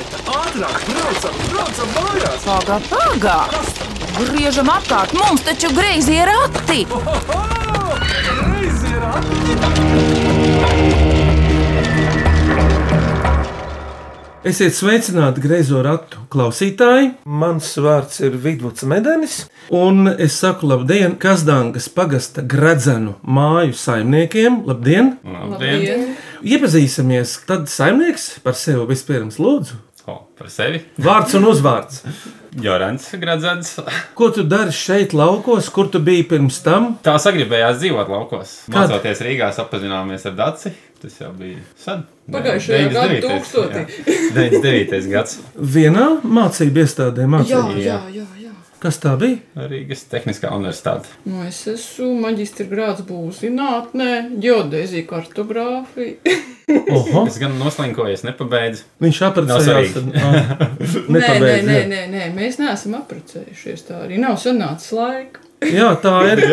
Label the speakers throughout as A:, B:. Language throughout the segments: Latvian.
A: ātrāk, braucam, braucam mājās!
B: Pagā, pagā! Griežam apkārt, mums taču greizi ir akti!
A: Oho! Reizi ir ātrāk!
C: Esiet sveicināti greizo ratu klausītāji. Mans vārds ir Vidvuds Medenis. Un es saku labdien Kazdāngas pagasta gradzenu māju saimniekiem. Labdien!
D: Labdien!
C: Iepazīsimies, tad saimnieks par sevi vispirms lūdzu.
D: O, par sevi.
C: Vārds un uzvārds.
D: Jorans Gradzens.
C: Ko tu dari šeit, laukos, kur tu biji pirms tam?
D: Tā sagribējās dzīvot laukos.
C: Kad?
D: Mācoties Rīgā, sapazināmies ar Daci. Tas jau bija sen.
E: Pagājušajā gada
D: 99. gads.
C: Vienā mācību iestādē
E: Jā,
C: mācīja.
E: jā, jā. jā.
C: Kas tā bija?
D: Rīgas Tehniskā universitāte.
E: Nu, es esmu maģistra grāts būvniecības zinātnē, geodēzija, kartogrāfija.
C: Oho,
D: Es gan noslinkoju, es nepabeidzu.
C: viņš
D: svarīgi.
C: aprecējās. Ah. Nē,
E: Nē, nē, nē, nē, nē, mēs neesam apprecējušies. Tā arī nav sanācis laika.
C: Jā, tā ir.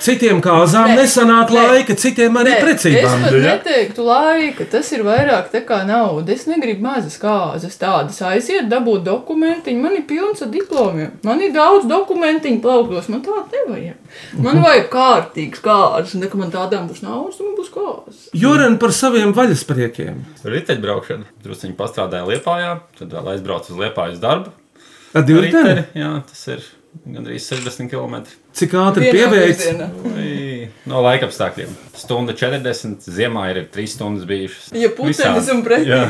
C: Citiem kāzām
E: Nē,
C: nesanāk
E: nē,
C: laika, citiem arī
E: Nē, Es
C: precībām.
E: pat neteiktu laika, tas ir vairāk tā kā nauda. Es negribu mazas kāzas tādas. Aiziet, dabūt dokumentiņu. Man ir pilns ar diplomiem. Man ir daudz dokumentiņu plauktos. Man tāda nevajag. Man vajag kārtīgas kāzas. Nekā man tādām būs naudas, man būs kāzas.
C: Jorēn par saviem vaļaspriekiem.
D: Riteņbraukšana. Drusciņi pastrādāja Liepājā, tad vēl aizbraucu uz Liepāju uz darbu.
C: Ar diviem
D: Riteri, jā, tas ir gandrīz 60 km.
C: Cik ātri
E: Vienā
C: pieveic?
E: virzienā.
D: Vai No laika apstākļiem. Stunda 40, ziemā ir 3 stundas bijušas.
E: Ja putenis
D: Visādi.
E: un pretī.
D: Jā.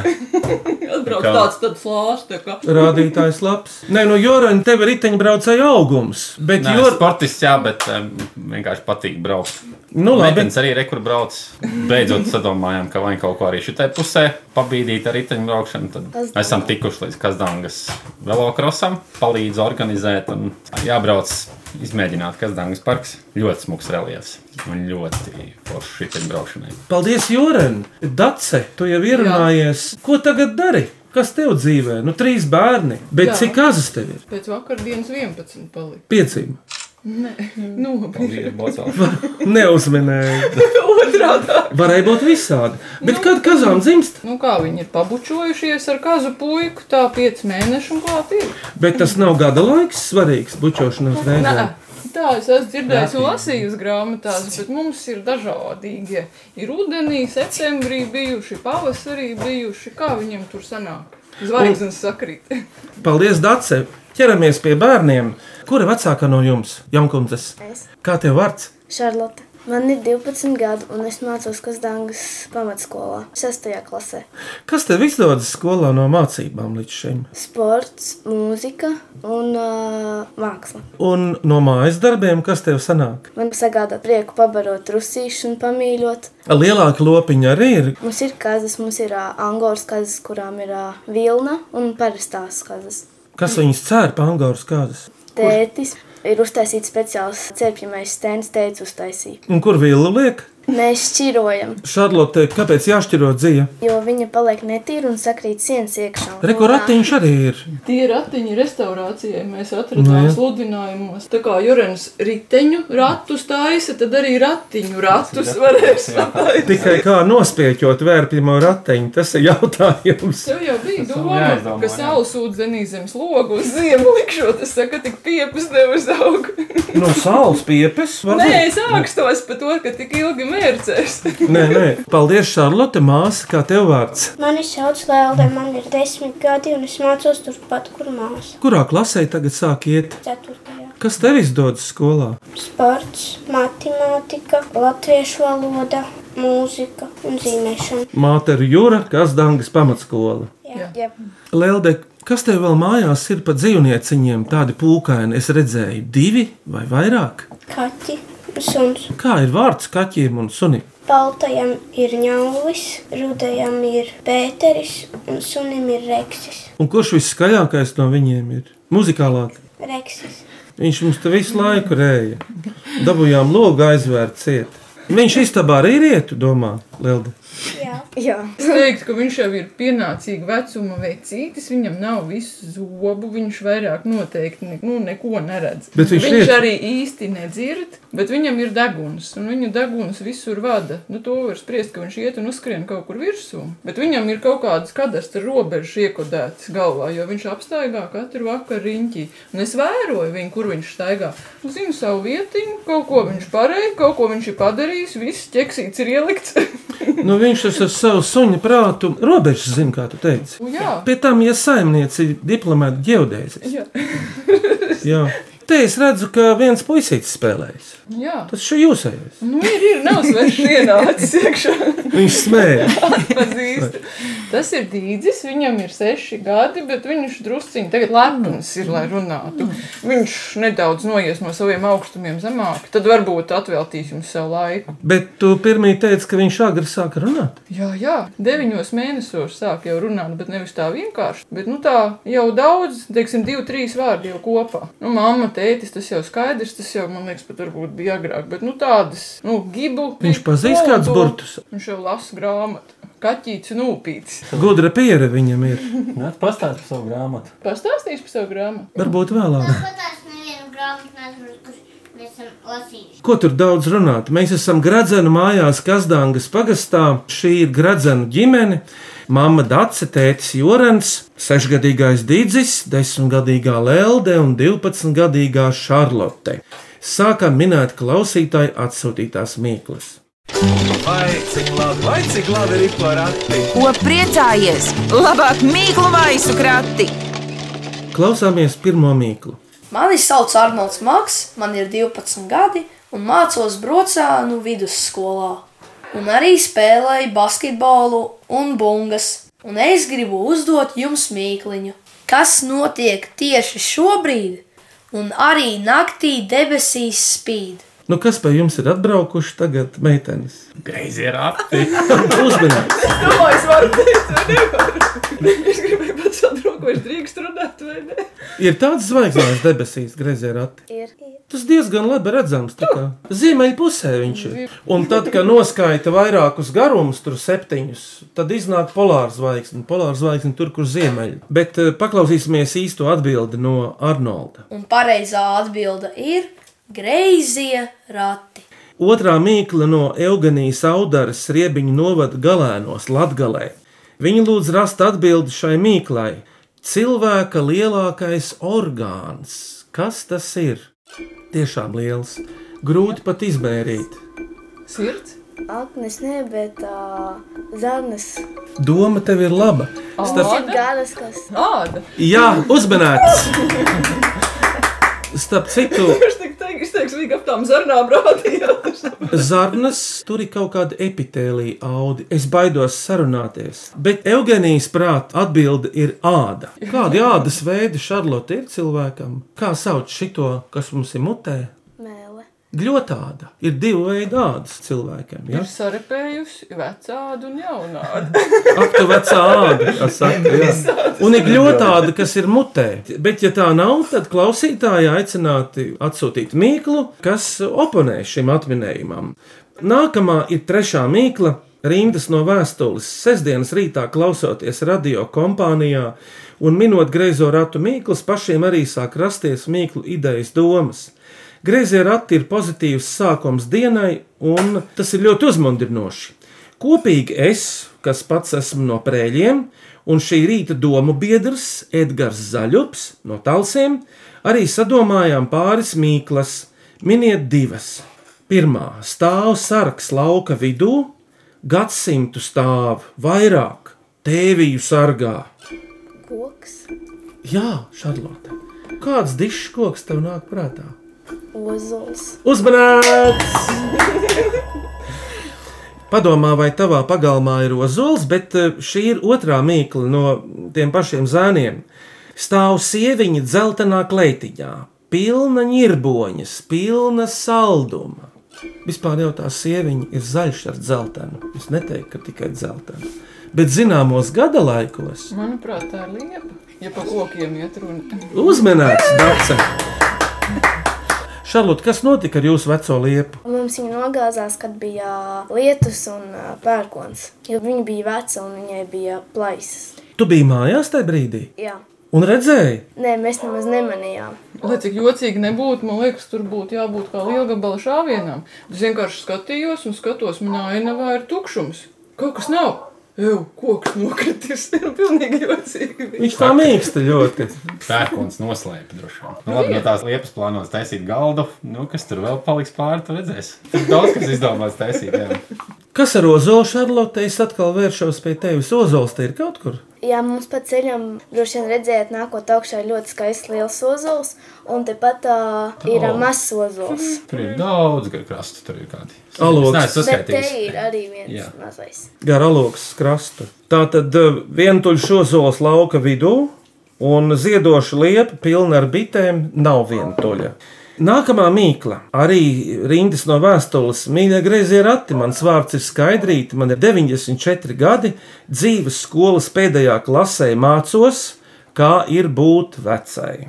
E: Atbrauc
D: Kā?
E: tāds tāds flāsts, tā kā.
C: Rādītājs labs. Nē, no Jorēna tev ir riteņbraucēja augums. Bet,
D: Nē,
C: Jor...
D: sportists, jā, bet um, vienkārši patīk braukt.
C: nu, labi,
D: Mēģinājums arī rekur brauc. Beidzot, sadomājām, ka vajag kaut ko arī šitai pusē pabīdīt ar riteņbraukšanu. Tad esam tikuši līdz Kazdāngas velokrosam, palīdz organizēt un jābrauc izmēģināt Kazdāngas parks. Ļoti smags reliefs un ļoti foršs riteņbraukšanai.
C: paldies, Jorēn. Dace, tu jau ierunājies. Ko tagad dari? Kas tev dzīvē? Nu, trīs bērni. Bet
E: Jā.
C: cik kāzas tev ir?
E: Pēc vakardienas 11 palika.
C: Piecīm.
E: Nu,
D: Paldies, Bocel.
C: Neuzminēju.
E: otrā tā.
C: Varēja būt visādi. Bet kad kazām dzimst?
E: Nu, kā viņi ir pabučojušies ar kazu puiku, tā 5 mēnešu un klāt ir.
C: Bet tas nav gada laiks svarīgs bučošanās
E: Nē.
C: reizē.
E: Tā es esmu dzirdējis un lasījis grāmatās, bet mums ir dažādīgie. Ir rudenī, septembrī bijuši, pavasarī bijuši. Kā viņiem tur sanāk? Zvaigznes sakrīt.
C: Paldies, Dace! Ķeramies pie bērniem. Kura vecākā no jums, Jankundzes?
F: Es.
C: Kā tev vārds?
F: Šarlote. Man ir 12 gadi, un es mācos Kazdāngas pamatskolā, 6. klasē.
C: Kas tev izdodas skolā no mācībām līdz šim?
F: Sports, mūzika un uh, māksla.
C: Un no mājas darbiem, kas tev sanāk?
F: Man sagādā prieku pabarot rusīšu un pamīļot.
C: Lielāka lopiņa arī ir.
F: Mums ir kazas, mums ir uh, angoras kazas, kurām ir uh, vilna un parastās kazas.
C: Kas viņas cērpa angāras kāzas?
F: Tētis ir uztaisīts speciāls cepjamais stends, tētis uztaisīja.
C: Un kur villu liek?
F: Mēs šķirojam,
C: Šarlote, kāpēc jāšķiro dzīve?
F: jo viņa paliek netīra un sakrīt sienas iekšā. Un, ā,
C: Rekoratiņš arī ir.
E: Tie ratiņi restorācijai mēs atradām
C: Nu, jā.
E: sludinājumos. Tā kā Jurens riteņu ratus taisa, tad arī ratiņu ratus varēs sataisīt.
C: Tikai kā nospieķot vērpjamo rateņu, tas ir jautājums.
E: Tev jau bija
D: Tas man
E: doma,
D: jāizdomā,
E: ka
D: jā.
E: saules ūdenī zem slogu uz ziemu likšot, es saku, tik piepus tev uz augu.
C: No saules piepes?
E: Nē, es ākstos par to, ka tik ilgi mērcēs.
C: Nē, nē, paldies, Šarlote, māsa, kā tev vārds.
G: Mani sauc Lēlde, man ir desmit gadi, un es mācos turpat, kur māsa.
C: Kurā klasē tagad sāk iet?
G: Ceturtajā.
C: Kas tev izdodas skolā?
G: Sports, matemātika, latviešu valoda, mūzika un zīmēšana.
C: Māte ir Jūra, kas Dangas pamatskola.
F: jā.
C: Lelde, kas tev vēl mājās ir pa dzīvnieciņiem, tādi pūkaini? Es redzēju, divi vai vairāk.
G: Kaķi, suns.
C: Kā ir vārds kaķiem un sunim?
G: Baltajam ir ņaulis, rudajam ir pēteris un sunim ir reksis.
C: Un kurš viskaļākais no viņiem ir? Muzikālāk.
G: Reksis.
C: Viņš mums te visu laiku rēja. Dabūjām logu aizvērt ciet. Viņš istabā arī rietu domā, Lelde.
G: Jā.
F: Jā.
E: Es teiktu, ka viņš jau ir pienācīga vecuma vecītis, viņam nav visu zobu, viņš vairāk noteikti ne, nu, neko neredz.
C: Bet viņš
E: viņš
C: iet.
E: arī īsti nedzird, bet viņam ir deguns, un viņa deguns visur vada. Nu, to var spriest, ka viņš iet un uzskrien kaut kur virsū, bet viņam ir kaut kādas kadastra robežas iekodētas galvā, jo viņš apstaigā katru vakaru riņķī. Un es vēroju viņu, kur viņš staigā. Nu, Zinu savu vietiņu, kaut ko viņš pareizi, kaut ko viņš ir padarījis, viss ķeksīts ir ielikts.
C: Nu, viņš tas ar savu suņa prātu robežas zina, kā tu teici.
E: Nu, Jā.
C: Pie tam, ja saimniece ir diplomāta ģeodēzija,
E: Jā.
C: tad te es redzu, ka viens puisītis spēlējas.
E: Jā,
C: Tas šis jūsējais.
E: nu, ir, ir nav svešs ienācis iekšā.
C: Viņš smēja.
E: Pazīstu. Tas ir dīdzis, viņam ir seši gadi, bet viņš drusciņi tagad lepns ir, lai runātu. Viņš nedaudz noies no saviem augstumiem zemāk, tad varbūt atveltīs jums savu laiku.
C: Bet tu pirmie teici, ka viņš agri sāk runāt.
E: Jā, jā, deviņos mēnešos sāk jau runāt, bet nevis tā vienkārši. Bet nu tā jau daudz, teiksim, divi, trīs vārdi jau kopā. Nu, mamma, tētis, tas jau skaidrs, tas jau, man liekas, pat varbūt bija agrāk, bet nu tādas, nu, gribu.
C: Viņš pazīst kādus burtus.
E: Viņš jau lasa grāmatu. Kaķis un upītis.
C: Gudra pieredze viņam ir.
D: Nē, Nu, pastāsti par savu grāmatu.
E: Pastāstīs par savu grāmatu.
C: Varbūt vēlāk.
H: Tāpatās nevienu grāmatu neesmu, kur mēs esam lasījuši.
C: Ko tur daudz runāt? Mēs esam Gradzenu mājās, Kazdāngas pagastā. Šī ir Gradzenu ģimene. Mama Dace, tētis Jorans, sešgadīgais Dīdzis, desmitgadīgā Lelde un divpadsmitgadīgā Šarlote. Sākam minēt klausītāju atsūtītās mīklas.
A: Vai cik labi, vai cik labi ir pa rati?
B: Ko priecājies? Labāk mīklu maisu krati!
C: Klausāmies pirmo mīklu.
I: Mani sauc Arnolds Maks, man ir 12 gadi un mācos brocēnu vidusskolā. Un arī spēlēju basketbolu un bungas. Un es gribu uzdot jums mīkliņu, kas notiek tieši šobrīd, un arī naktī debesīs spīd.
C: Nu, kas pie jums ir atbraukuši tagad, meitenes?
D: Greizi ir apti.
C: Uzmanības!
E: Jā, es varu teikt, vai nevaru. Es gribēju pats atrunāt, vai es drīkstu runāt vai nē.
C: Ir tāds zvaigznājs debesīs, grazē rati.
F: Ir.
C: Tas diezgan labi redzams. tā kā. Ziemeļpusē viņš ir. Un tad, kad noskaita vairākus garumus, tur septiņus, tad iznāk polāra zvaigzne. Polāra zvaigzne tur, kur ziemeļ. Bet eh, paklausīsimies īsto atbildi no Arnolda.
I: Un pareizā atbilde ir greizie rati.
C: Otrā mīkla no Eugenijas audaras riebiņu novada galēnos Latgalē. Viņa lūdz rast atbildi šai mīklai. Cilvēka lielākais orgāns. Kas tas ir? Tiešām liels. Grūti pat izmērīt.
E: Sirds?
F: Aknes nē, bet uh, zarnas.
C: Doma tev ir laba. Starp...
F: Ir garas, kas
E: Āda.
C: Jā, uzmanīts! Starp citu,
E: Es tik teiktu, es teiktu, vīg ap tām zarnām rādījāt.
C: Nu? Zarnas tur ir kaut kāda epitēlija audi. Es baidos sarunāties. Bet Eugenijas prāta atbilde ir āda. Kādi ādas veidi Šarlote ir cilvēkam? Kā sauc šito, kas mums ir mutē?
F: mēle.
C: Gļotāda. Ir divi veidi ādas cilvēkam. Ja?
E: Ir sarepējusi vecādu un jaunādu.
C: Ak, tu vecā āda, kā saka. Jā. Un ir gļotāda, kas ir mutē. Bet, ja tā nav, tad klausītāji aicināti atsūtīt mīklu, kas oponē šim atminējumam. Nākamā ir trešā mīkla. Rindas no vēstules sestdienas rītā klausoties radio kompānijā un minot greizo ratu mīklus, pašiem arī sāk rasties mīklu idejas domas. Greizie rati ir pozitīvs sākums dienai, un tas ir ļoti uzmundrinoši. Kopīgi es, kas pats esmu no prēļiem, un šī rīta domu biedrs Edgars Zaļups no Talsiem, arī sadomājām pāris mīklas. Miniet divas. Pirmā stāv sargs lauka vidū, gadsimtu stāv vairāk, tēviju sargā.
F: Koks,
C: Jā, Šarlote, kāds dišs koks tev nāk prātā?
F: ozols.
C: Uzmanīts! Padomā, vai tavā pagalmā ir ozols, bet eh, šī ir otrā mīkla no tiem pašiem zēniem. Stāv sieviņa dzeltenā kleitiņā, pilna nirboņas, pilna salduma. Vispār jau tā sieviņa ir zaļš ar dzeltenu. Es neteiktu, ka tikai dzeltenu. Bet zināmos gada laikos
E: Manuprāt, tā ir liepa. Ja pa kokiem iet runa.
C: Uzmanīts, Dārsa! Šarlot, kas notika ar jūsu veco liepu?
F: Mums viņa nogāzās, kad bija uh, lietus un ā, pērkons. Jo viņa bija veca un viņai bija plaisas.
C: Tu biji mājās tajā brīdī
F: Jā,
C: un redzēji,
F: Nē, mēs nemaz nemanījām.
E: Lai cik jocīgi nebūtu, man liekas, tur būtu jābūt kā lielgabala šāvienam. Es vienkārši skatījos un skatos, manā ainavā ir tukšums. Kaut kas nav. Ew, koks nokritis. Ir pilnīgi jocīgi. bija.
C: viņš tā mīksta ļoti.
D: Pērkons noslēpj droši vien. Nu, labi, no tās liepas plānots taisīt galdu. Nu, kas tur vēl paliks pāri, tu redzēsi. Tur daudz kas izdomāts taisīt. Jā.
C: Kas ar Ozolu Šarlotē? Es atkal vēršos pie tevis. Ozols te ir kaut kur.
F: Jā, mums pa ceļam droši vien redzējāt, nākot augšā ir ļoti skaists liels ozols, un tepat uh, ir
D: O.
F: oh. mazs ozols.
D: Tur ir daudz gar krastu, tur ir kādi.
C: Aloks.
D: Nē, es
F: Bet te ir
D: saskaitījis.
F: arī viens
D: Jā.
F: Jā. mazais.
C: gar alokas krastu. Tā tad eh, vientuļš ozols lauka vidū, un ziedoša liepa pilna ar bitēm nav vientuļa. Nākamā mīkla, arī rindas no vēstules. Mīļā grazījā rati, mans vārds ir skaidrīti, man ir 94 gadi, dzīves skolas pēdējā klasē mācos, kā ir būt vecai.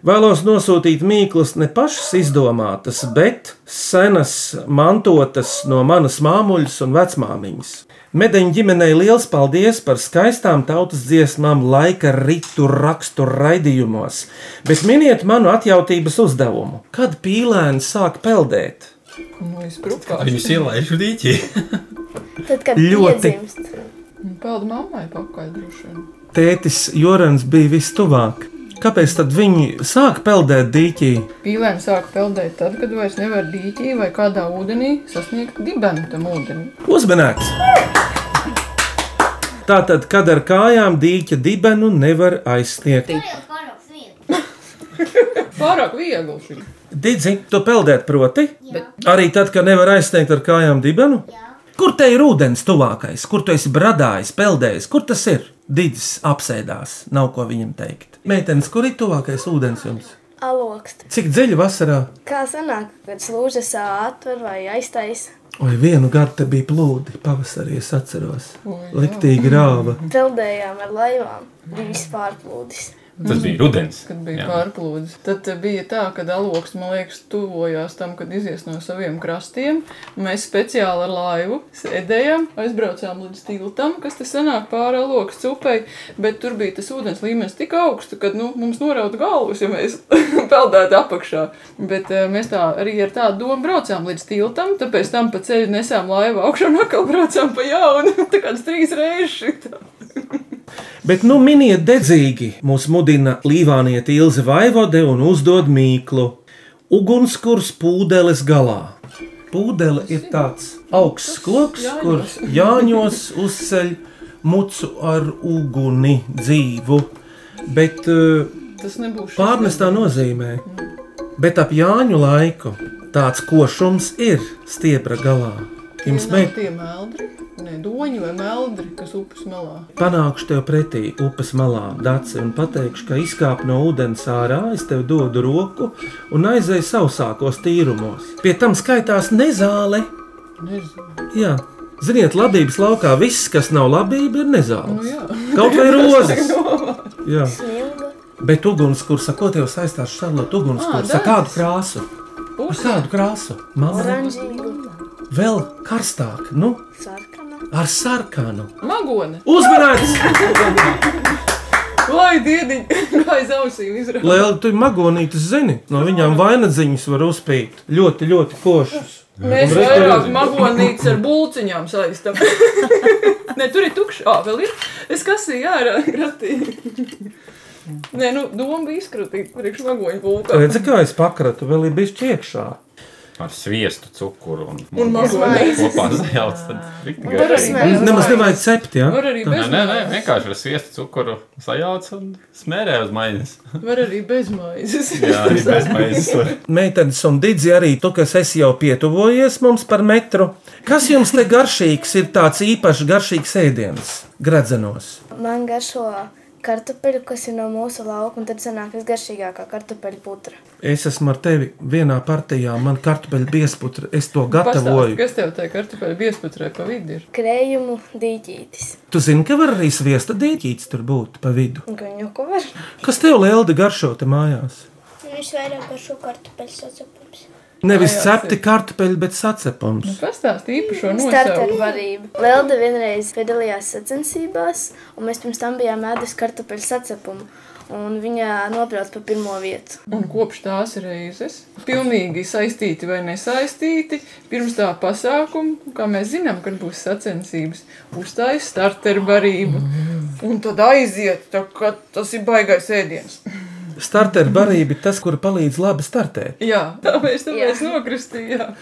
C: Vēlos nosūtīt mīklas ne pašas izdomātas, bet senas, mantotas no manas māmuļas un vecmāmiņas. Medeņa ģimenei liels paldies par skaistām tautas dziesmām, laika ritu rakstu raidījumos, bet miniet manu atjautības uzdevumu. Kad pīlēni sāk peldēt?
E: Nu, izsprūkās.
D: Viņus ielaižu dīķī.
F: Tad, kad
C: Ļoti.
F: piedzimst,
E: Peldu mammai pakaļ droši vien.
C: Tētis Jorans bija vistuvāk. Kāpēc tad viņi sāk peldēt dīķī?
E: Pīlēm sāk peldēt tad, kad vairs nevar dīķī vai kādā ūdenī sasniegt dibenu tam ūdenim.
C: Uzmanīgs! Tātad, kad ar kājām dīķa dibenu nevar aizsniegt.
H: Jau pārāk viegli.
E: Pārāk viegli šī.
C: Didzi, tu peldēt proti? Arī tad, kad nevar aizsniegt ar kājām dibenu?
H: Jā.
C: Kur te ir ūdens tuvākais, kur tu esi bradājis, peldējis? Kur tas ir? Digis apsēdās, nav ko viņam teikt. Meitenes, kur ir tuvākais ūdens jums?
F: alokst.
C: Cik dziļi vasarā?
F: Kā sanāk, kad slūžas ā, atver vai aiztais?
C: Oi, vienu gadu te bija plūdi, pavasarī es atceros. Liktīgi grāva.
F: Peldējām ar laivām, bija vispār plūdis.
D: Tas bija rudens.
E: Mhm. Kad bija
D: Jā.
E: pārplūdes, tad eh, bija tā, ka daloks, man liekas, tuvojās tam, kad izies no saviem krastiem. Mēs speciāli ar laivu sēdējām, aizbraucām līdz tiltam, kas te senāk pāri lokas upei, bet tur bija tas ūdens līmenis tik augsts, ka nu, mums norauda galvas, ja mēs peldētu apakšā. Bet eh, mēs tā arī ar tādu domu braucām līdz tiltam, tāpēc tam pa ceļu nesām laivu augšā un atkal braucām pa jaunu. Tā kāds trīs reizes šitā.
C: Bet, nu, miniet dedzīgi, mūs mudina Līvānieta Ilze Vaivode un uzdod mīklu. Ugunskurs pūdeles galā. Pūdele ir tāds augsts koks,
E: jāņos.
C: kurš jāņos uzceļ mucu ar uguni dzīvu, bet eh,
E: Tas nebūs šis
C: pārnestā nozīmē, bet ap Jāņu laiku tāds košums ir stiepra galā. Jums
E: Tie nav
C: meklē.
E: tie meldri, ne doņi vai meldri, kas upes malā.
C: Panākšu tev pretī upes malā, dārci, un pateikšu, ka izkāp no ūdens ārā, es tev dodu roku un aizēju sausākos tīrumos. Pie tam skaitās nezāle.
E: Nezinu.
C: Jā, ziniet, labības laukā viss, kas nav labība, ir nezāle.
E: jā.
C: Kaut vai rozes. Jā.
F: Smilga,
C: Bet ugunskursa, ko tev saistās ar šādu ugunskursu?
E: Ā,
C: Kādu krāsu? Uz
E: Pusi.
C: kādu krāsu? Māla
F: oranžīga,
C: vēl karstāk, nu,
F: sarkana.
C: ar sarkanu.
E: Magone,
C: Uzmanīgs!
E: lai diediņi, lai zausīm izrādās.
C: Liela tu magonītes zini, no viņām vainagdziņas var uzpīt. Ļoti, ļoti košas.
E: Mēs
C: Un
E: vairāk
C: restorāns.
E: magonītes ar bulciņām saistām. Nē, tur ir tukšs. Ā, vēl ir. Es kasīju ārā gratīju. Nē, nu, doma bija izkrutīt priekš magoņu būkā.
C: Redzi, kā es pakratu, vēl ir bijis iekšā.
D: Ar sviestu, cukuru un,
E: Un magoni.
D: Kopā sajauc. tad riktīgi.
E: Var arī bez-
C: Nemaz nevajag cept, jā.
E: Var arī
D: Nē,
E: bez
D: nē, nē,
E: maizes.
D: vienkārši ar sviestu, cukuru sajauc un smērē uz maizes.
E: Var arī bez maizes.
D: Jā, arī bez maizes. var.
C: Meitenes un didzi arī tu, kas esi jau pietuvojies mums par metru. Kas jums te garšīgs ir tāds īpašs garšīgs ēdiens? Gradzenos.
F: Man garšo kartupeļu, kas ir no mūsu lauka, un tad sanāk visgaršīgākā kartupeļu putra.
C: Es esmu ar tevi vienā partijā, man kartupeļu piesputra, es to
E: Pastāsti,
C: gatavoju.
E: kas tev tajā kartupeļu biespatrē pa vidu ir?
F: Krējumu dīķītis.
C: Tu zini, ka var arī sviesta dīķīts tur būt pa vidu.
F: Un ka viņu ko var?
C: Kas tev lieldi garšo te mājās?
G: Viņš vairāk ar šo kartupeļu sacepums.
C: Nevis
E: jā,
C: cepti kartupeļi, bet sacepums.
E: Kas tās īpašo nosaukumu?
F: Startervarība. Lelda vienreiz piedalījās sacensībās, un mēs pirms tam bijām ēdus kartupeļu sacepumu. Un viņa nobrauc pa pirmo vietu.
E: Un kopš tās reizes, pilnīgi saistīti vai nesaistīti, pirms tā pasākuma, kā mēs zinām, kad būs sacensības, uzstājas starteru barību. Mhm. Un tad aiziet, tā, kā tas ir baigais ēdiens.
C: Starteru barība ir tas, kur palīdz labi startēt.
E: Jā, tā mēs tam nokristījām.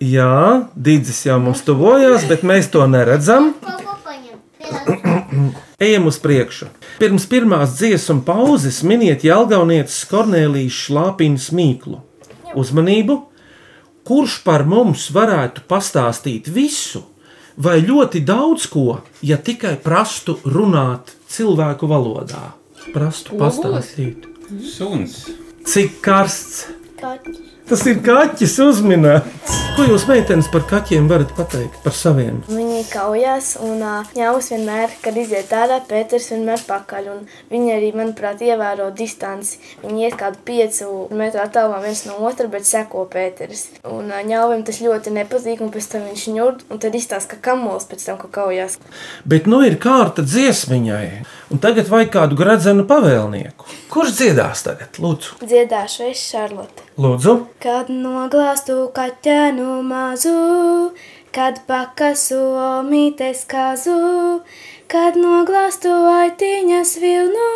C: Jā, Digis jau mums tuvojās, bet mēs to neredzam.
H: Kaut ko paņem. Piedāvā.
C: Ejam uz priekšu. Pirms pirmās dziesmu pauzes miniet Jālgaunietes Kornelijas šlāpiņas mīklu. Uzmanību! Kurš par mums varētu pastāstīt visu, vai ļoti daudz ko, ja tikai prastu runāt cilvēku valodā? Prastu
E: Ogulis?
C: pastāstīt.
D: Suns.
C: Cik karsts!
G: Kaķis.
C: Tas ir kaķis uzminēts. Ko jūs, meitenes, par kaķiem varat pateikt par saviem?
F: Viņi kaujās, un ņēmus vienmēr, kad iziet ārā, Pēters vienmēr pakaļ. un Viņi arī, manuprāt, ievēro distanci. Viņi iet kādu piecu metru attālumā viens no otra, bet seko Pēters. Un ņēmumam tas ļoti nepatīk, un pēc tam viņš ņurd, un tad izstāsta, ka kamols pēc tam, ka kaujās.
C: Bet nu ir kārta dziesmiņai, un tagad vajag kādu gradzenu pavēlnieku. Kurš dziedās tagad? Lūdzu,
F: Dziedāšu es Šarlote.
C: Lūdzu.
F: Kad noglāstu kaķēnu mazu, kad pakasu omītes kazu, kad noglāstu aitiņas vilnu,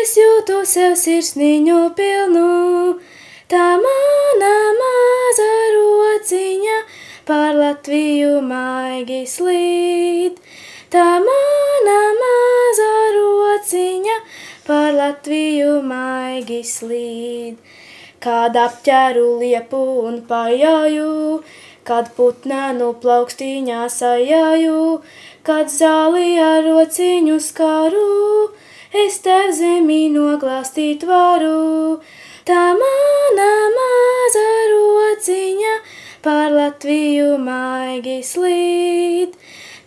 F: es jūtu sev sirsniņu pilnu. Tā mana maza rociņa pār Latviju maigi slīd. Tā mana maza rociņa pār Latviju maigi slīd. Kad apķēru liepu un pajāju, kad putnā no plaukstīņā sajāju, kad zāli ar rociņu skaru, es tev zemī noglāstīt varu. Tā mana maza rociņa pār Latviju maigi slīd.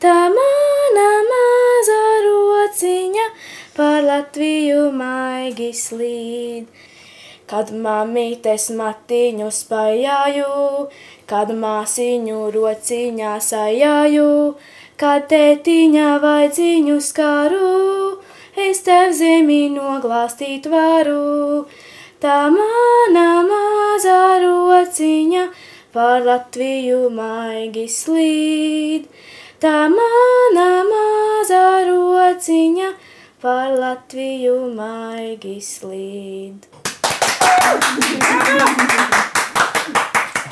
F: Tā mana maza rociņa pār Latviju maigi slīd. Kad mamītes matiņu spējāju, kad māsiņu rociņā sajāju, kad tētiņā vaidziņu skaru, es tev zemī noglāstīt varu. Tā mana mazā rociņa pār Latviju maigi slīd. Tā mana mazā rociņa pār Latviju maigi slīd.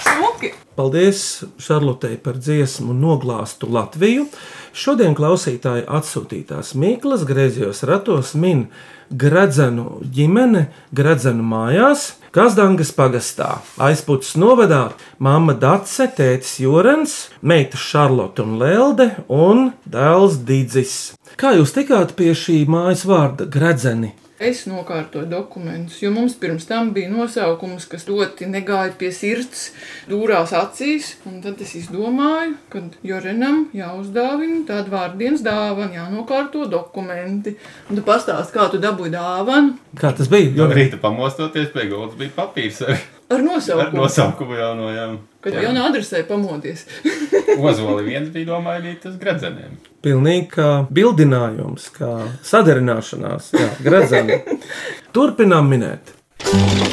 E: Smuki!
C: Paldies Šarlotei par dziesmu Noglāstu Latviju. Šodien klausītāji atsūtītās Mīklas griezījos ratos min Gradzenu ģimene, Gradzenu mājās, Kazdangas pagastā, aizpūtas novadā mamma Dace, tētis Jorens, meita Šarlote un Lelde un dēls Didzis. Kā jūs tikāt pie šī mājas vārda Gradzeni?
E: Es nokārtoju dokumentus, jo mums pirms tam bija nosaukums, kas ļoti negāja pie sirds, dūrās acīs. un Tad es izdomāju, ka Jorinam jāuzdāvina tāda vārdienas dāvana, jānokārto dokumenti. Un tu pastāsti, kā tu dabūji dāvanu
C: Kā tas bija?
D: Jo
C: Jorgen?
D: rīta pamostoties pie gultas bija papīrs ar,
E: ar
D: ar
E: nosaukumu.
D: nosaukumu jau no jām.
E: Kad jau no adresē pamodies.
D: Ozoli viens bija domāju, bija tas gradzeniem.
C: Pilnīgi kā bildinājums, kā sadarināšanās, jā, gredzami. Turpinām minēt.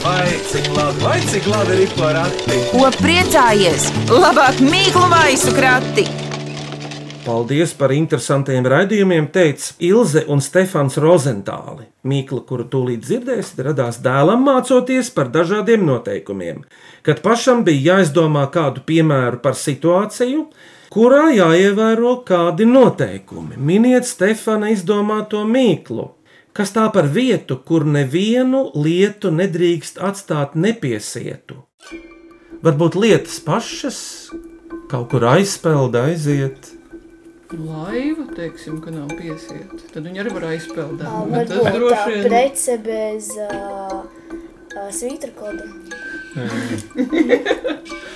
A: Vai cik labi, vai cik labi ir porakti?
B: Ko priecājies? Labāk mīklu maisu krati!
C: Paldies par interesantiem raidījumiem, teica Ilze un Stefans Rozentāli. Mīkla, kuru tūlīt dzirdēsiet, radās dēlam mācoties par dažādiem noteikumiem, kad pašam bija jāizdomā kādu piemēru par situāciju, kurā jāievēro kādi noteikumi. Miniet Stefana izdomāto mīklu, kas tā par vietu, kur nevienu lietu nedrīkst atstāt nepiesietu. Varbūt lietas pašas kaut kur aizpeld, aiziet.
E: Laiva, teiksim, ka nav piesiet. Tad viņi arī var aizpeldēt. Bet Tas
F: Varbūt tā
E: droši vien
F: prece bez uh, uh, svītra koda.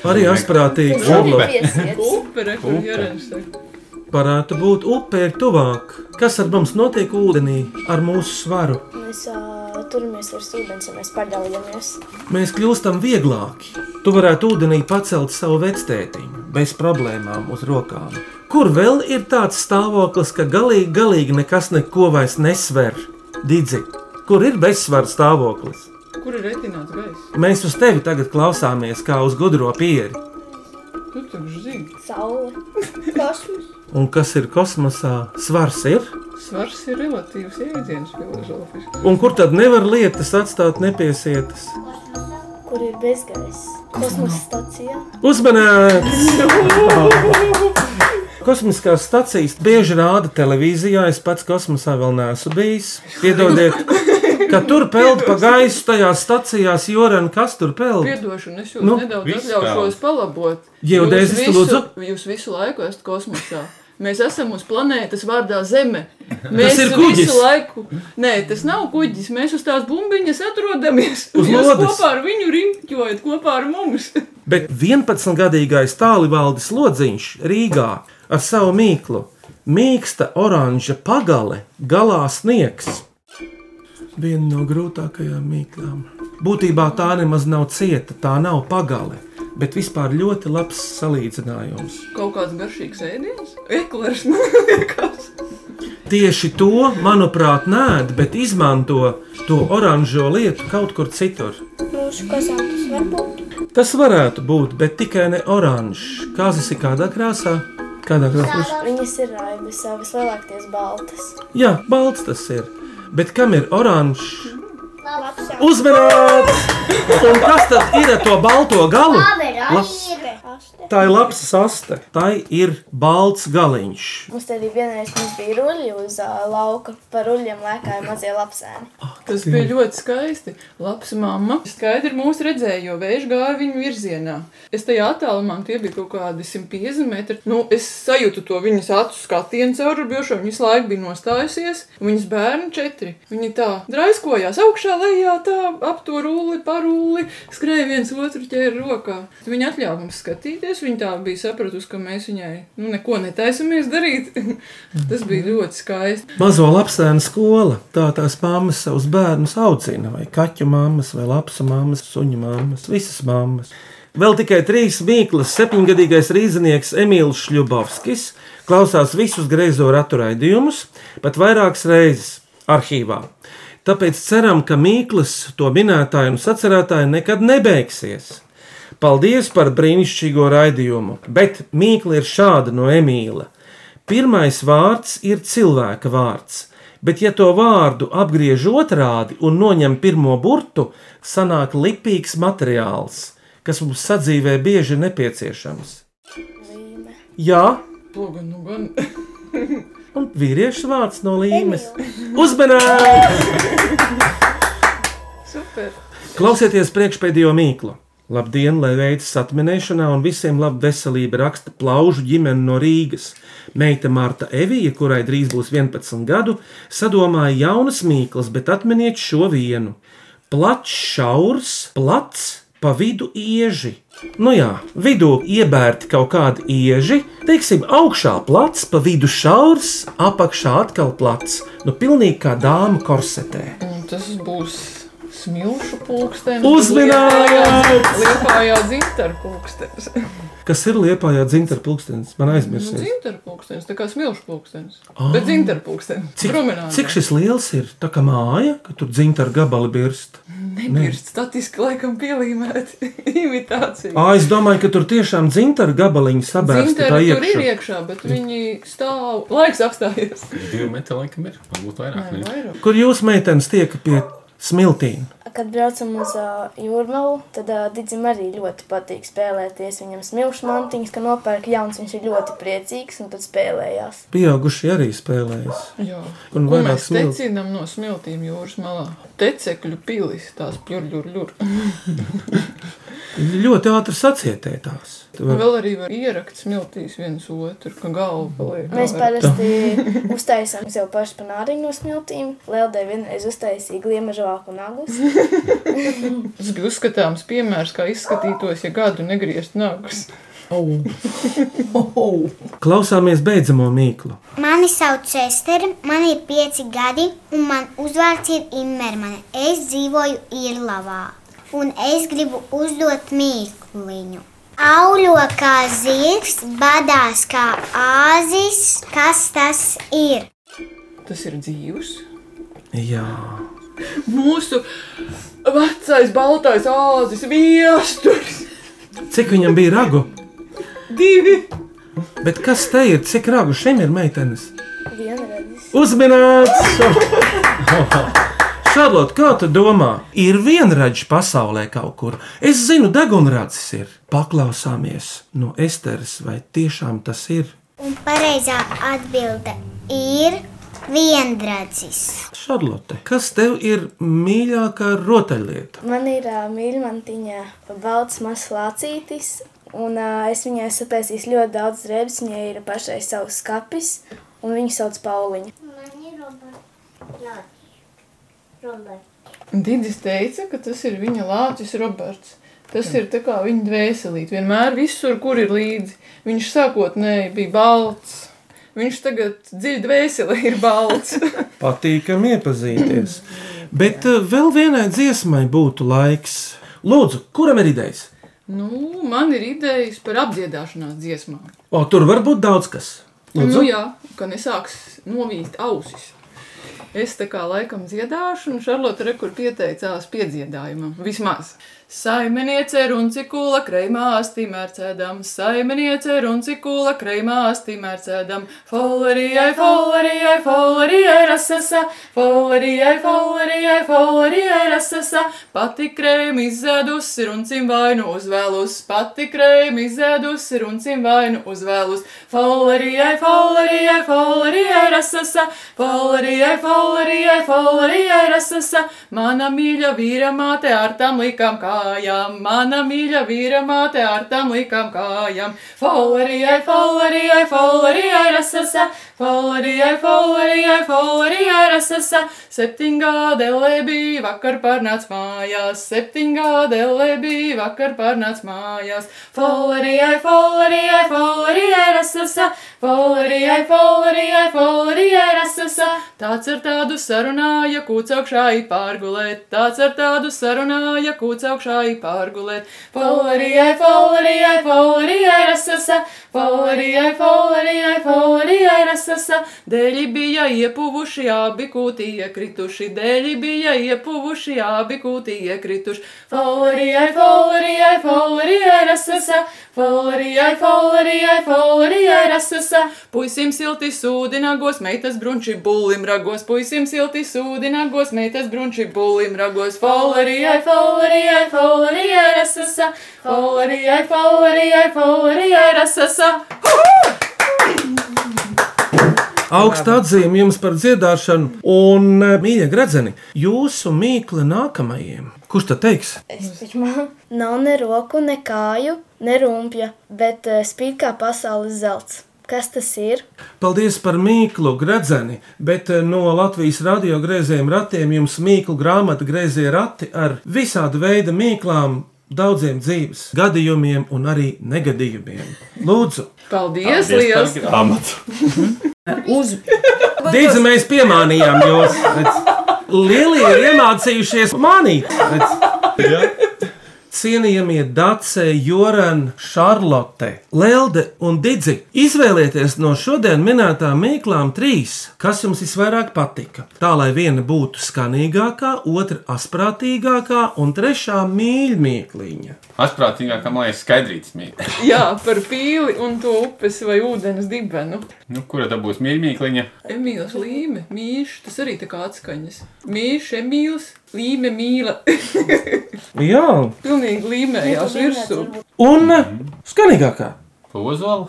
C: Arī asprātīgi
D: Upe.
C: žurlo.
E: upere, kur
D: Upe.
E: Jorins saka.
C: varētu būt upē ir tuvāk. Kas ar mums notiek ūdenī ar mūsu svaru?
F: Mēs uh, turamies virs ūdens, ja mēs padalāmies.
C: Mēs kļūstam vieglāki. Tu varētu ūdenī pacelt savu vectētiņu bez problēmām uz rokām. Kur vēl ir tāds stāvoklis, ka galīgi, galīgi nekas neko vairs nesver? Didzi, kur ir bezsvara stāvoklis?
E: Kur ir retināts gaiss?
C: Mēs uz tevi tagad klausāmies kā uz gudro pieri.
E: Tu taču zini,
F: Saule.
G: Kosmos.
C: Un kas ir kosmosā? Svars ir.
E: svars ir relatīvs jēdziens filozofisks.
C: Un kur tad nevar lietas atstāt nepiesietas?
F: Kur ir bezgaiss? Kosmosa stācijā.
C: Uzmanīts! Kosmiskās stācijas bieži rāda televīzijā. Es pats kosmosā vēl neesmu bijis. Piedodiet, ka tur peld pa gaisu tajās stācijās jorēna, kas tur peld.
E: Piedošana, es jūs
C: Nu,
E: nu, nedaudz
D: viss
E: atļaušos palabot.
C: Geodēzis,
E: Jūs
C: lūdzu?
E: visu- Jūs visu laiku esat kosmosā. Mēs esam uz planētas vārdā Zeme. Mēs
C: Tas ir kuģis.
E: visu laiku. Nē, tas nav kuģis. Mēs uz tās bumbiņas atrodamies.
C: Uz
E: Jūs
C: lodes.
E: kopā ar viņu riņķojat, kopā ar mums.
C: Bet 11-gadīgais tālivaldis Lodziņš Rīgā ar savu mīklu mīksta oranža pagale galā sniegs. Viena no grūtākajām mīklām. Būtībā tā nemaz nav cieta, tā nav pagale, bet vispār ļoti labs salīdzinājums.
E: Kaut kāds garšīgs ēdiens. Eklers, man liekas.
C: Tieši to, manuprāt, nē, bet izmanto to oranžo lietu kaut kur citur.
G: Mūsu kazantis var būt.
C: Tas varētu būt, bet tikai ne oranžs. Kāzas ir kādā krāsā? Kādā krāsā?
F: Viņas ir raibas, savas lielākās baltas.
C: Jā, balts tas ir. Bet kam ir oranžs?
H: Labs.
C: Uzmanīts! Un kas tad ir ar to balto galu? Tā ir labs saste. Tā ir balts galiņš.
F: Mums te arī vienreiz mums bija ruļļi uz uh, lauka, pa ruļļiem lēkāja mazie lapsēni.
E: Tas bija ļoti skaisti. Labs mamma. Skaidri mūs redzēja, jo vējš gāja viņu virzienā. Es tajā attālumā, tie bija kaut kādi 150 metri. Nu, es sajūtu to viņas acu skatienu caurumu, jo šo viņas laiku bija nostājusies. un Viņas bērni četri. Viņi tā draiskojās augšā lejā, tā ap to rūli, parūli, skrēja viens otru ķēri rokā. Viņa atļāva mums skatīties. Viņa tā bija sapratusi, ka mēs viņai nu, neko netaisamies darīt. Tas bija ļoti skaisti.
C: Mazo lapsēnu skola. Tā tās mammas savus bērnus audzina. Vai kaķu mammas, vai lapsu mammas, suņu mammas, visas mammas. Vēl tikai trīs mīklas, septiņgadīgais rīznieks Emīls Šļubovskis klausās visus greizo ratu raidījumus, pat vairākas reizes arhīvā. Tāpēc ceram, ka mīklas to minētāju un sacerētāju nekad nebeigsies. Paldies par brīnišķīgo raidījumu, bet mīkla ir šāda no Emīla. Pirmais vārds ir cilvēka vārds, bet, ja to vārdu apgriež otrādi un noņem pirmo burtu, sanāk lipīgs materiāls, kas mums sadzīvē bieži ir nepieciešams. Jā,
E: Logan, nu gan.
C: un vīriešu vārds no līmes - uzmanības!
E: Super.
C: Klausieties priekšpēdējo mīklu! Labdien, lai veids atminēšanā un visiem laba veselība raksta plaužu ģimene no Rīgas. Meita Marta Evija, kurai drīz būs 11 gadu, sadomāja jaunas mīklas, bet atminiet šo vienu. Plats, šaurs, plats, pa vidu ieži. Nu jā, vidū iebērti kaut kādi ieži, teiksim, augšā plats, pa vidu šaurs, apakšā atkal plats. Nu, pilnīgi kā dāma korsetē.
E: Un tas būs smilšu pulkstenis.
C: Uzvinājāt!
E: Liepā jau dzimtaru pulkstenis.
C: Kas ir liepā jau dzimta pulkstenis? Man
E: Nu,
C: aizmirsīs.
E: dzimtaru pulkstenis, tā kā smilšu pulkstenis. Bet dzimtaru pulkstenis.
C: Ah. Cik, cik šis liels ir? Tā kā māja, ka tur dzimta ar gabalu birst.
E: Nebirst statiski laikam pielīmēt imitāciju.
C: Ā, es domāju, ka tur tiešām dzimta ar gabaliņu sabērsta tā
E: Dzimtari tur ir
C: iekšā.
E: iekšā, bet viņi stāv. Laiks apstājies.
D: Divi metri laikam ir. Varbūt vairāk.
E: Nē,
D: ne?
E: vairāk.
C: Kur jūs meitenes tiek pie smiltīm?
F: Kad braucam uz uh, jūrmālu, tad uh, Digim arī ļoti patīk spēlēties. Viņam smilšu mantiņas, ka nopērk jauns, viņš ir ļoti priecīgs un tad spēlējās.
C: Pieaugušie arī spēlējas.
E: Jā.
C: Un
E: Un
C: vairāk
E: mēs
C: smilti.
E: tecinām no smiltīm jūras malā. Tecekļu pilis, tās pļurļurļur.
C: Ļoti ātri sacietētās.
E: Un vēl arī var ierakt smiltīs viens otru, ka galva paliek.
F: Mēs
E: galvā.
F: parasti uztaisām sev pašu panāriņu no smiltīm. Lieldai vienreiz uztaisīja gliemežu vāku nagus.
E: Tas bija uzskatāms piemērs, kā izskatītos, ja gadu negrieztu nagus.
C: Klausāmies beidzamo mīklu.
H: Mani sauc Čestera, man ir pieci gadi, un man uzvārds ir Immermane. Es dzīvoju Irlavā, un es gribu uzdot mīkluņu. Aulo kā zirgs, badās kā āzis. Kas tas ir?
E: Tas ir dzīvs.
C: Jā,
E: Mūsu vecais baltais āzis, viesturs,
C: cik viņam bija ragu?
E: divi.
C: Bet kas te ir? Cik ragu šim ir meitenes?
F: Vienreiz.
C: Uzminēts! Šarlot, kā tu domā, ir vienradis pasaulē kaut kur? Es zinu, degunrācis ir. Paklausāmies no Esteres, vai tiešām tas ir?
H: Un pareizā atbilde ir viendradzis.
C: Šarlote, kas tev ir mīļākā rotaļlieta?
F: Man ir uh, mīļmantiņa balts mazs lācītis, un uh, es viņai sapēsīju ļoti daudz drēbes. Viņai ir pašai savs skapis, un viņu sauc Pauliņa.
H: Man ir robots. Robots.
E: Digis teica, ka tas ir viņa lācis Roberts. Tas ir tā kā viņa dvēselīte. Vienmēr visur, kur ir līdzi. Viņš sākotnēji bija balts. Viņš tagad dziļi dvēselē ir balts.
C: Patīkami iepazīties. Bet eh, vēl vienai dziesmai būtu laiks. Lūdzu, kuram ir idejas?
E: nu, man ir idejas par apdziedāšanās dziesmām.
C: O, tur var būt daudz kas.
E: Nu,
C: Lūdzu,
E: jā, ka nesāks novīst ausis. Es tā kā laikam dziedāšu, un Šarlote Rekur pieteicās piedziedājumam. Vismaz. Saimeniece runcikula kreimās timēr cēdam, saimeniece runcikula kreimās timēr cēdam, folerijai, folerijai, folerijai rasasa, folerijai, folerijai, folerijai rasasa, pati kreim izēdusi runcim vainu uzvēlus, pati kreim izēdusi runcim vainu uzvēlus, folerijai, folerijai, folerijai rasasa, folerijai, folerijai, folerijai rasasa, mana mīļa vīra māte ar tam likām kājām, mana mīļa vīra māte ar tam likām kājām, folerijai, folerijai, folerijai rasasa, folerijai, folerijai, folerijai rasasa, septingā dēlē bija vakar pārnāc mājās, septingā dēlē bija vakar pārnāc mājās, folerijai, folerijai, folerijai rasasa, folerijai, folerijai, folerijai rasasa, tāds ar tādu sarunāja kūts augšā i pārgulēt, tāds ar tādu sarunāja kūts augšā i pārgulēt, folerijai, folerijai, folerijai rasasa, Folerijai, folerijai, folerijai rasasa, dēļi bija iepuvuši, abi kūti iekrituši, dēļi bija iepuvuši, abi kūti iekrituši. Folerijai, folerijai, folerijai rasasa, folerijai, folerijai, folerijai rasasa, puisim silti sūdinagos, meitas brunči bulim ragos, puisim silti sūdinagos, meitas brunči bulim ragos. Folerijai, folerijai, folerijai rasasa, folerijai, folerijai, folerijai rasasa.
C: augsta atzīme jums par dziedāšanu. Un, eh, mīļie gradzeni, jūsu mīkla nākamajiem. Kurš tad teiks?
F: Es pirmā nav ne roku, ne kāju, ne rumpja, bet eh, spīd kā pasaules zelts. Kas tas ir?
C: Paldies par mīklu, gradzeni, bet eh, no Latvijas radio grēzējiem ratiem jums mīklu grāmata grēzēja rati ar visādu veidu mīklām, daudziem dzīves gadījumiem un arī negadījumiem. Lūdzu,
E: Paldies, liels!
D: grāmatu!
B: Uz
C: Dīdzi, mēs piemānījām jūs! Redz, Lielie ir iemācījušies manīt! Redz.
D: Ja?
C: Cienījamie Dārce, Joran, Šarlote, Lelde un Digi, izvēlieties no šodien minētām mīklām trīs, kas jums visvairāk patika. Tā lai viena būtu skanīgākā, otra asprātīgākā un trešā mīļākā.
D: Asprātīgākā man liekas skaidrītas mīkla.
E: Jā, par pīli un to upes vai ūdens dibenu.
D: Nu, kura tad būs mīļākā?
E: Emīls Līme, Mīļš, tas arī tā kā atskaņas. Mīļš, Emīls, Līme, Mīla.
C: Jā,
E: Pilnīgi līmējās virsū.
C: un skanīgākā.
D: Ozola?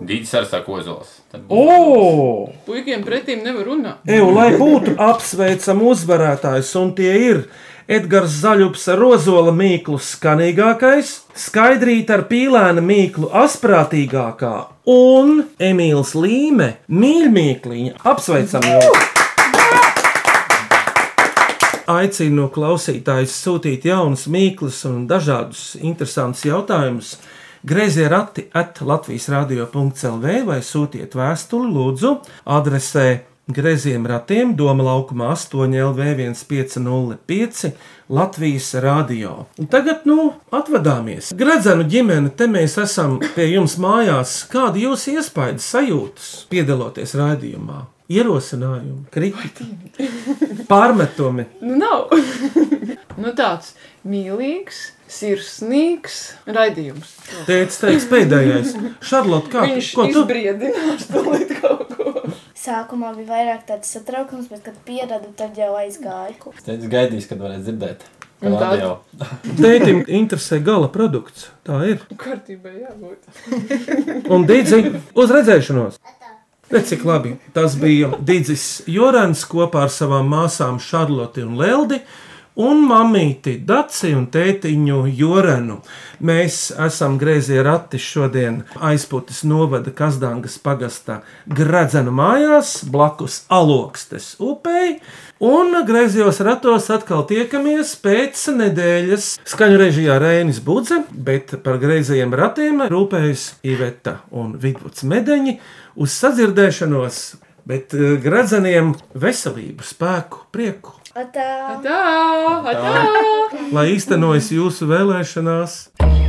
D: Dīdis ar saku ozols. Tad būs
C: O!
E: Puikiem pretīm nevar runāt.
C: Eju, lai būtu apsveicam uzvarētājs, un tie ir Edgars Zaļups ar rozola mīklu skanīgākais, skaidrīt ar pīlēna mīklu asprātīgākā un Emīls Līme mīļmīkliņa. Apsveicam jau! Aicinu klausītājus sūtīt jaunas mīklas un dažādus interesantus jautājumus Griezie rati at Latvijas radio.clv vai sūtiet vēstuli lūdzu adresē Grieziem ratiem Doma laukumā 8 LV1505 Latvijas radio. Un tagad, nu, atvadāmies. Gradzenu ģimene, te mēs esam pie jums mājās. Kāda jūs iespaidas sajūtas piedaloties rādījumā? Ierosinājumi, kritika, pārmetumi.
E: Nu, nav. nu, tāds mīlīgs, sirsnīgs raidījums.
C: Teicis, teiks pēdējais. Šarlot, kā
E: Viņš
C: ko tu?
E: izbriedinās to līdz kaut ko.
F: Sākumā bija vairāk tāds satraukums, bet kad pieradu, tad jau aizgāju.
D: Es teicu, gaidīs, kad varēs dzirdēt.
E: Un
D: Kad
E: tad?
D: radio.
C: Tētim interesē gala produkts. Tā ir.
E: Kārtībā jābūt.
C: Un Dīdzi, uz redzēšanos! Redz, cik labi. Tas bija Digis Jorans kopā ar savām māsām Šarloti un Leldi. Un mamīti Daci un tētiņu Joranu. Mēs esam griezie rati šodien aizpūtas novada Kazdāngas pagastā Gradzenu mājās, blakus Alokstes upei. Un griezījos ratos atkal tiekamies pēc nedēļas. Skaņu režijā Rēnis Budze, bet par griezījiem ratiem rūpējas Iveta un Vidvuds Medeņi uz sadzirdēšanos, bet eh, gradzeniem veselību, spēku, prieku,
F: Atā!
E: Tā, tā.
C: lai īstenojas jūsu vēlēšanās.